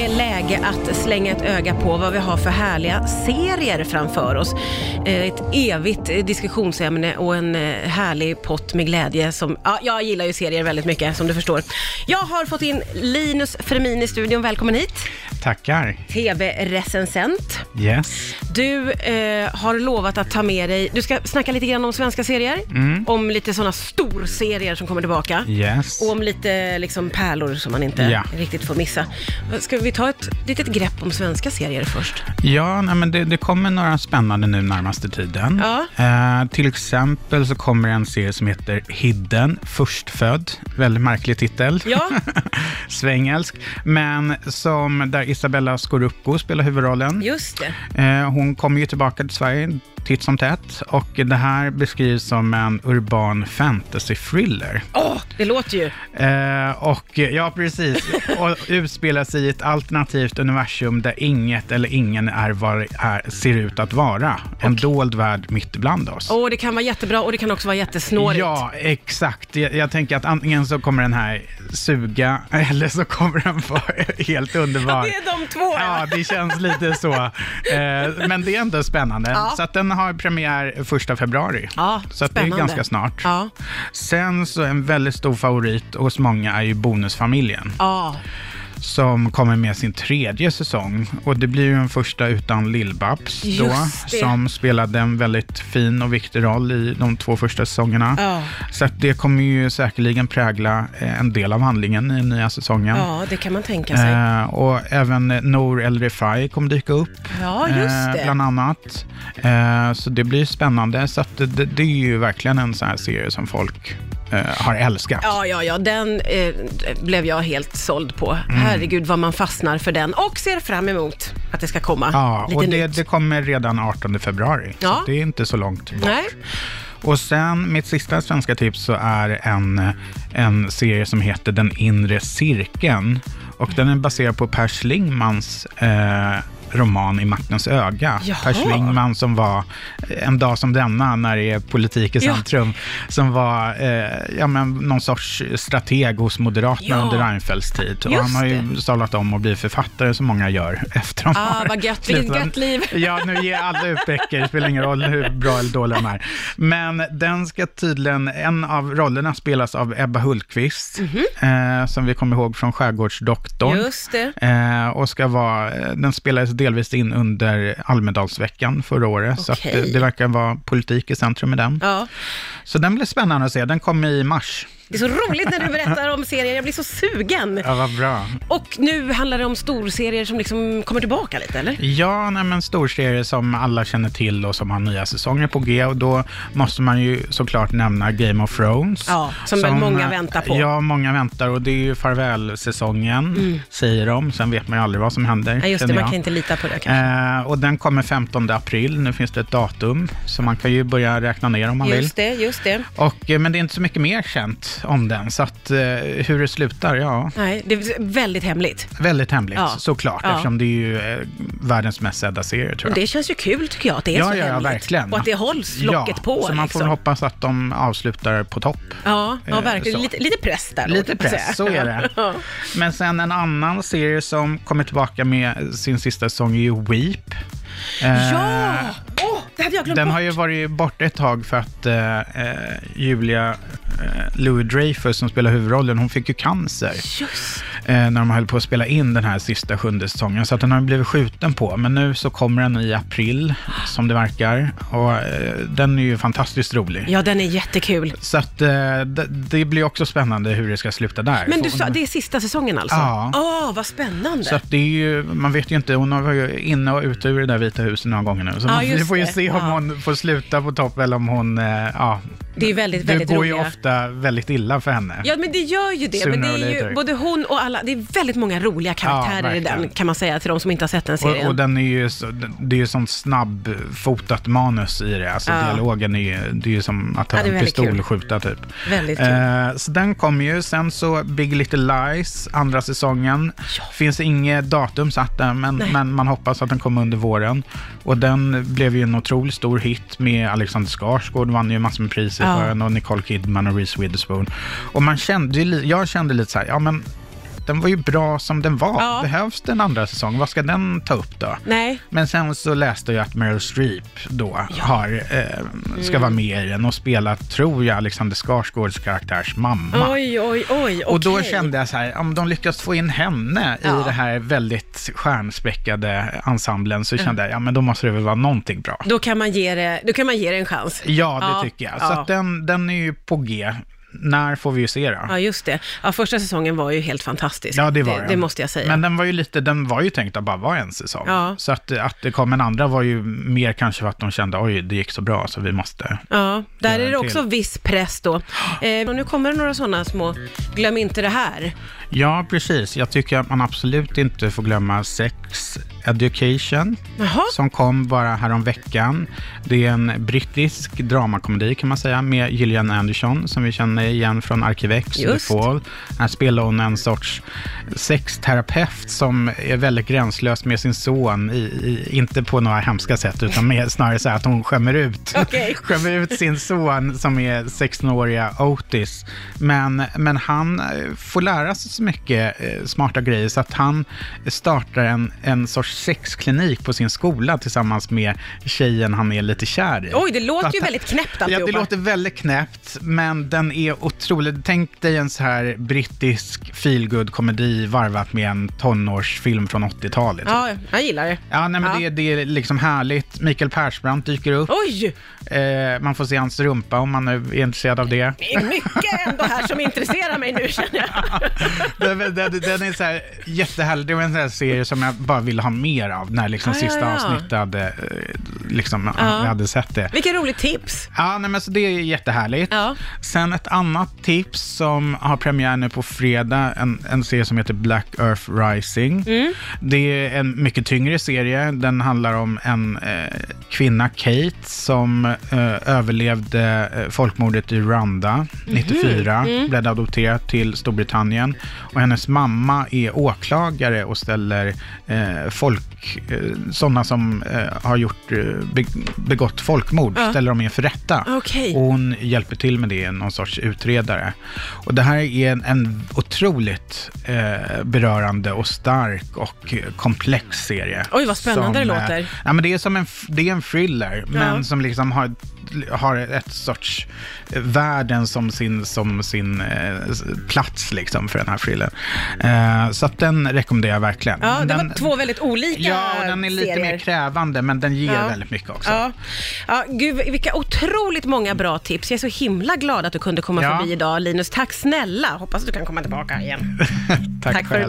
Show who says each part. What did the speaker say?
Speaker 1: läge att slänga ett öga på vad vi har för härliga serier framför oss. Eh, Ett evigt eh, diskussionsämne och en eh, härlig pott med glädje som, ja, jag gillar ju serier väldigt mycket som du förstår. Jag har fått in Linus Fermin i studion, välkommen hit.
Speaker 2: Tackar.
Speaker 1: TV-recensent.
Speaker 2: Yes.
Speaker 1: Du eh, har lovat att ta med dig, du ska snacka lite grann om svenska serier, om lite sådana storserier som kommer tillbaka.
Speaker 2: Yes.
Speaker 1: Och om lite liksom, pärlor som man inte
Speaker 2: Ja.
Speaker 1: riktigt får missa. Ska vi ta ett litet grepp om svenska serier först?
Speaker 2: Ja, nej, men det, det kommer några spännande nu närmaste tiden.
Speaker 1: Ja.
Speaker 2: Eh, till exempel så kommer en serie som heter Hidden, förstfödd. Väldigt märklig titel.
Speaker 1: Ja,
Speaker 2: Svängelsk. Men som, där Isabella Scorupco spelar huvudrollen.
Speaker 1: just det.
Speaker 2: Eh, Hon kommer ju tillbaka till Sverige titt som tätt och det här beskrivs som en urban fantasy-thriller.
Speaker 1: Åh, det låter ju.
Speaker 2: Eh, och ja, precis. Och utspelar sig i ett alternativt universum där inget eller ingen är vad det är, ser ut att vara. En dold värld mitt ibland oss.
Speaker 1: Åh, det kan vara jättebra och det kan också vara jättesnårigt.
Speaker 2: Ja, exakt. Jag, jag tänker att antingen så kommer den här suga eller så kommer den vara helt underbar.
Speaker 1: Det är de två.
Speaker 2: Ja, det känns lite så. Eh, men det är ändå spännande.
Speaker 1: Ja.
Speaker 2: Så att den har premiär första februari.
Speaker 1: Ja,
Speaker 2: så att det är
Speaker 1: spännande.
Speaker 2: ganska snart.
Speaker 1: Ja.
Speaker 2: Sen så en väldigt stor favorit hos många är ju Bonusfamiljen
Speaker 1: Ja,
Speaker 2: som kommer med sin tredje säsong. Och det blir ju den första utan Lill-Babs då,
Speaker 1: Just det.
Speaker 2: som spelade en väldigt fin och viktig roll i de två första säsongerna.
Speaker 1: Ja.
Speaker 2: Så att det kommer ju säkerligen prägla eh, en del av handlingen i nya säsongen.
Speaker 1: ja, det kan man tänka sig.
Speaker 2: Eh, och även eh, Nour El Refai kommer dyka upp. eh,
Speaker 1: Ja, just det.
Speaker 2: bland annat. Eh, så det blir spännande. Så att det, det, det är ju verkligen en sån här serie som folk eh, har älskat.
Speaker 1: Ja, ja, ja, den eh, blev jag helt såld på.
Speaker 2: Mm.
Speaker 1: Herregud vad man fastnar för den och ser fram emot att det ska komma
Speaker 2: Ja,
Speaker 1: lite
Speaker 2: och det,
Speaker 1: nytt.
Speaker 2: det kommer redan 18 februari,
Speaker 1: Ja.
Speaker 2: så det är inte så långt bort.
Speaker 1: Nej.
Speaker 2: Och sen, mitt sista svenska tips så är en, en serie som heter Den inre cirkeln. Och den är baserad på Per Schlingmans eh, roman I maktens öga.
Speaker 1: Jaha.
Speaker 2: Per Schlingman som var, eh, en dag som denna när det är politik i
Speaker 1: Ja.
Speaker 2: centrum, som var eh, ja, men någon sorts strateg hos Moderaterna
Speaker 1: Ja.
Speaker 2: under Reinfeldts tid. Och
Speaker 1: Just
Speaker 2: han har ju talat om att bli författare som många gör efter de
Speaker 1: Ah,
Speaker 2: har
Speaker 1: vad gött. Vilket
Speaker 2: slutat.
Speaker 1: gött liv.
Speaker 2: Ja, nu ger alla ut böcker, det spelar ingen roll hur bra eller dåliga de är. Men den ska tydligen, en av rollerna spelas av Ebba Hultqvist, eh, som vi kommer ihåg från Skärgårdsdoktorn.
Speaker 1: Mhm. Just det.
Speaker 2: Eh, och ska vara, eh, den spelades delvis in under Almedalsveckan förra året, så att
Speaker 1: Okej.
Speaker 2: det, det verkar vara politik i centrum i den.
Speaker 1: Ja.
Speaker 2: Så den blir spännande att se, den kommer i mars.
Speaker 1: Det är så roligt när du berättar om serier, jag blir så sugen.
Speaker 2: Ja, vad bra.
Speaker 1: Och nu handlar det om storserier som liksom kommer tillbaka lite, eller?
Speaker 2: Ja, nej, men stor serie som alla känner till och som har nya säsonger på G. Och då måste man ju såklart nämna Game of Thrones. eh,
Speaker 1: Ja, som väl många väntar på.
Speaker 2: Ja, många väntar och det är ju farvälsäsongen, säger de. Sen vet man ju aldrig vad som händer.
Speaker 1: Nej, Mm. just det,
Speaker 2: känner
Speaker 1: man
Speaker 2: jag.
Speaker 1: kan inte lita på det kanske.
Speaker 2: Eh, och den kommer 15 april. Nu finns det ett datum, så man kan ju börja räkna ner om man vill.
Speaker 1: Just det, just det.
Speaker 2: Och, eh, men det är inte så mycket mer känt om den, så att, eh, hur det slutar, ja.
Speaker 1: Nej, det är väldigt hemligt.
Speaker 2: Väldigt hemligt,
Speaker 1: Ja.
Speaker 2: såklart,
Speaker 1: Ja.
Speaker 2: eftersom det är ju eh, världens mest sedda serie, tror jag.
Speaker 1: Och det känns ju kul tycker jag, att det är
Speaker 2: Ja,
Speaker 1: så
Speaker 2: ja, ja,
Speaker 1: hemligt.
Speaker 2: verkligen.
Speaker 1: Och att det hålls locket
Speaker 2: ja,
Speaker 1: på.
Speaker 2: Så man får
Speaker 1: liksom.
Speaker 2: väl hoppas att de avslutar på topp.
Speaker 1: Ja, ja
Speaker 2: Eh,
Speaker 1: verkligen.
Speaker 2: så.
Speaker 1: Lite, lite press där. då,
Speaker 2: Lite
Speaker 1: kan man säga.
Speaker 2: press, så är det. Men sen en annan serie som kommer tillbaka med sin sista säsong är ju Weep. Eh,
Speaker 1: Ja! Åh, det hade jag glömt
Speaker 2: Den
Speaker 1: bort.
Speaker 2: har ju varit borta ett tag för att eh, eh, Julia eh, Louis Dreyfus som spelar huvudrollen, hon fick ju cancer
Speaker 1: Just
Speaker 2: eh, när de höll på att spela in den här sista sjunde säsongen. Så att den har blivit skjuten på. Men nu så kommer den i april, som det verkar. Och eh, den är ju fantastiskt rolig.
Speaker 1: Ja, den är jättekul.
Speaker 2: Så att, eh, det, det blir också spännande hur det ska sluta där.
Speaker 1: Men
Speaker 2: För
Speaker 1: du
Speaker 2: hon-
Speaker 1: sa, det är sista säsongen alltså?
Speaker 2: Ja.
Speaker 1: Åh, vad spännande.
Speaker 2: så att det är ju, man vet ju inte, hon har varit inne och ute ur det där Vita huset några gånger nu. Så
Speaker 1: Ja,
Speaker 2: man, vi
Speaker 1: just
Speaker 2: får ju
Speaker 1: det.
Speaker 2: se om
Speaker 1: Ja.
Speaker 2: hon får sluta på topp eller om hon, eh, ja.
Speaker 1: det är väldigt,
Speaker 2: Det
Speaker 1: väldigt
Speaker 2: går ju
Speaker 1: roliga.
Speaker 2: ofta väldigt illa för henne.
Speaker 1: Ja, men det gör ju det.
Speaker 2: Sooner
Speaker 1: Men det
Speaker 2: or
Speaker 1: är ju
Speaker 2: later.
Speaker 1: både hon och alla, det är väldigt många roliga karaktärer i den,
Speaker 2: verkligen.
Speaker 1: kan man säga till de som inte har sett den serien.
Speaker 2: Och, och den är ju, så, det är ju sånt snabbfotat manus i det. Alltså
Speaker 1: Ja.
Speaker 2: dialogen är ju, det är ju som att ha
Speaker 1: Ja, det är
Speaker 2: en
Speaker 1: väldigt
Speaker 2: pistol
Speaker 1: kul.
Speaker 2: skjuta typ.
Speaker 1: Väldigt kul.
Speaker 2: Eh, så den kom ju. Sen så Big Little Lies, andra säsongen. Finns inget datum satt där, men, men man hoppas att den kommer under våren. Och den blev ju en otroligt stor hit med Alexander Skarsgård, vann ju massor med priser
Speaker 1: Ja.
Speaker 2: för den, och Nicole Kidman och Reese Witherspoon. Och man kände ju, li- jag kände lite så här, ja men den var ju bra som den var.
Speaker 1: Ja.
Speaker 2: Behövs det en andra säsong? Vad ska den ta upp då?
Speaker 1: Nej.
Speaker 2: Men sen så läste jag att Meryl Streep då har, eh, ska
Speaker 1: Mm.
Speaker 2: vara med i den och spela, tror jag, Alexander Skarsgårds karaktärs mamma.
Speaker 1: Oj, oj, oj.
Speaker 2: Och då
Speaker 1: Mm. okej.
Speaker 2: kände jag så här, om de lyckas få in henne
Speaker 1: Ja.
Speaker 2: i den här väldigt stjärnspäckade ensemblen
Speaker 1: Mm.
Speaker 2: så kände jag, ja men då måste det väl vara någonting bra.
Speaker 1: Då kan man ge det, då kan man ge det en chans.
Speaker 2: Ja, det
Speaker 1: Ja,
Speaker 2: tycker jag. Så
Speaker 1: ja.
Speaker 2: att den, den är ju på G. När får vi ju se då?
Speaker 1: Ja, just det. Ja, första säsongen var ju helt fantastisk.
Speaker 2: Ja, det var
Speaker 1: det,
Speaker 2: den.
Speaker 1: det måste jag säga.
Speaker 2: Men den var ju lite, den var ju tänkt att bara vara en säsong.
Speaker 1: Ja.
Speaker 2: Så att, att det kom en andra var ju mer kanske för att de kände, oj, det gick så bra så vi måste.
Speaker 1: Ja, där
Speaker 2: Gör
Speaker 1: är
Speaker 2: en
Speaker 1: det också viss press då. Eh, och nu kommer det några sådana små, glöm inte det här.
Speaker 2: Ja, precis. Jag tycker att man absolut inte får glömma Sex Education.
Speaker 1: Jaha,
Speaker 2: som kom bara härom veckan. Det är en brittisk dramakomedi kan man säga med Gillian Anderson som vi känner igen från Arkivex, The
Speaker 1: Just.
Speaker 2: Fall. Här spelar hon en sorts sexterapeut som är väldigt gränslös med sin son, i, i, inte på några hemska sätt utan mer, snarare så här att hon skämmer ut,
Speaker 1: Okej.
Speaker 2: skämmer ut sin son som är 16-åriga Otis. Men, men han eh, får lära sig så mycket eh, smarta grejer så att han startar en, en sorts sexklinik på sin skola tillsammans med tjejen han är lite kär i.
Speaker 1: oj det
Speaker 2: Så
Speaker 1: låter
Speaker 2: att
Speaker 1: ju
Speaker 2: han-
Speaker 1: väldigt knäppt
Speaker 2: Ja,
Speaker 1: alltihopa.
Speaker 2: det låter väldigt knäppt, men den är otrolig. Tänk dig en så här brittisk feelgood-komedi varvat med en tonårsfilm från 80-talet. Ja.
Speaker 1: Ja, jag gillar det.
Speaker 2: nej, men
Speaker 1: Ja.
Speaker 2: Det, det är liksom härligt. Mikael Persbrandt dyker upp.
Speaker 1: Oj,
Speaker 2: Eh, man får se hans rumpa om man nu är intresserad av det.
Speaker 1: det är mycket ändå här som intresserar mig nu känner jag.
Speaker 2: den, den, den är så här jättehärlig. Det var en sån här serie som jag bara ville ha mer av när liksom
Speaker 1: Ja, ja,
Speaker 2: sista
Speaker 1: Ah, ja.
Speaker 2: avsnittet hade, eh, liksom,
Speaker 1: Ja.
Speaker 2: vi hade sett det.
Speaker 1: Vilket roligt tips.
Speaker 2: Ja, nej, men så det är jättehärligt.
Speaker 1: Ja.
Speaker 2: Sen ett annat tips som har premiär nu på fredag, en, en serie som heter Black Earth Rising.
Speaker 1: Mm.
Speaker 2: Det är en mycket tyngre serie. Den handlar om en eh, kvinna, Kate, som eh, överlevde eh, folkmordet i Rwanda
Speaker 1: Mhm.
Speaker 2: 94,
Speaker 1: Mm.
Speaker 2: blev adopterad till Storbritannien. Och hennes mamma är åklagare och ställer eh, folk, eh, sådana som eh, har gjort, eh, be, begått folkmord,
Speaker 1: Ja.
Speaker 2: ställer dem inför rätta.
Speaker 1: Okej.
Speaker 2: Och hon hjälper till med det, någon sorts utredare. Och det här är en, en otroligt eh, berörande och stark och eh, komplex serie.
Speaker 1: Oj, vad spännande
Speaker 2: som,
Speaker 1: det
Speaker 2: eh,
Speaker 1: låter.
Speaker 2: Ja, men det, är som en, f- det är en thriller, men som liksom har, har ett sorts eh, världen som sin, som sin eh, s- plats liksom för den här thrillern. Eh, så att den rekommenderar jag verkligen.
Speaker 1: Ja, det
Speaker 2: den,
Speaker 1: var två väldigt olika
Speaker 2: Ja, och den är lite
Speaker 1: serier.
Speaker 2: mer krävande, men den ger
Speaker 1: Ja.
Speaker 2: väldigt mycket också.
Speaker 1: Ja. ja, gud vilka otroligt många bra tips. Jag är så himla glad att du kunde komma
Speaker 2: Ja.
Speaker 1: förbi idag Linus. Tack snälla, hoppas att du kan komma tillbaka igen.
Speaker 2: Tack,
Speaker 1: Tack för
Speaker 2: själv.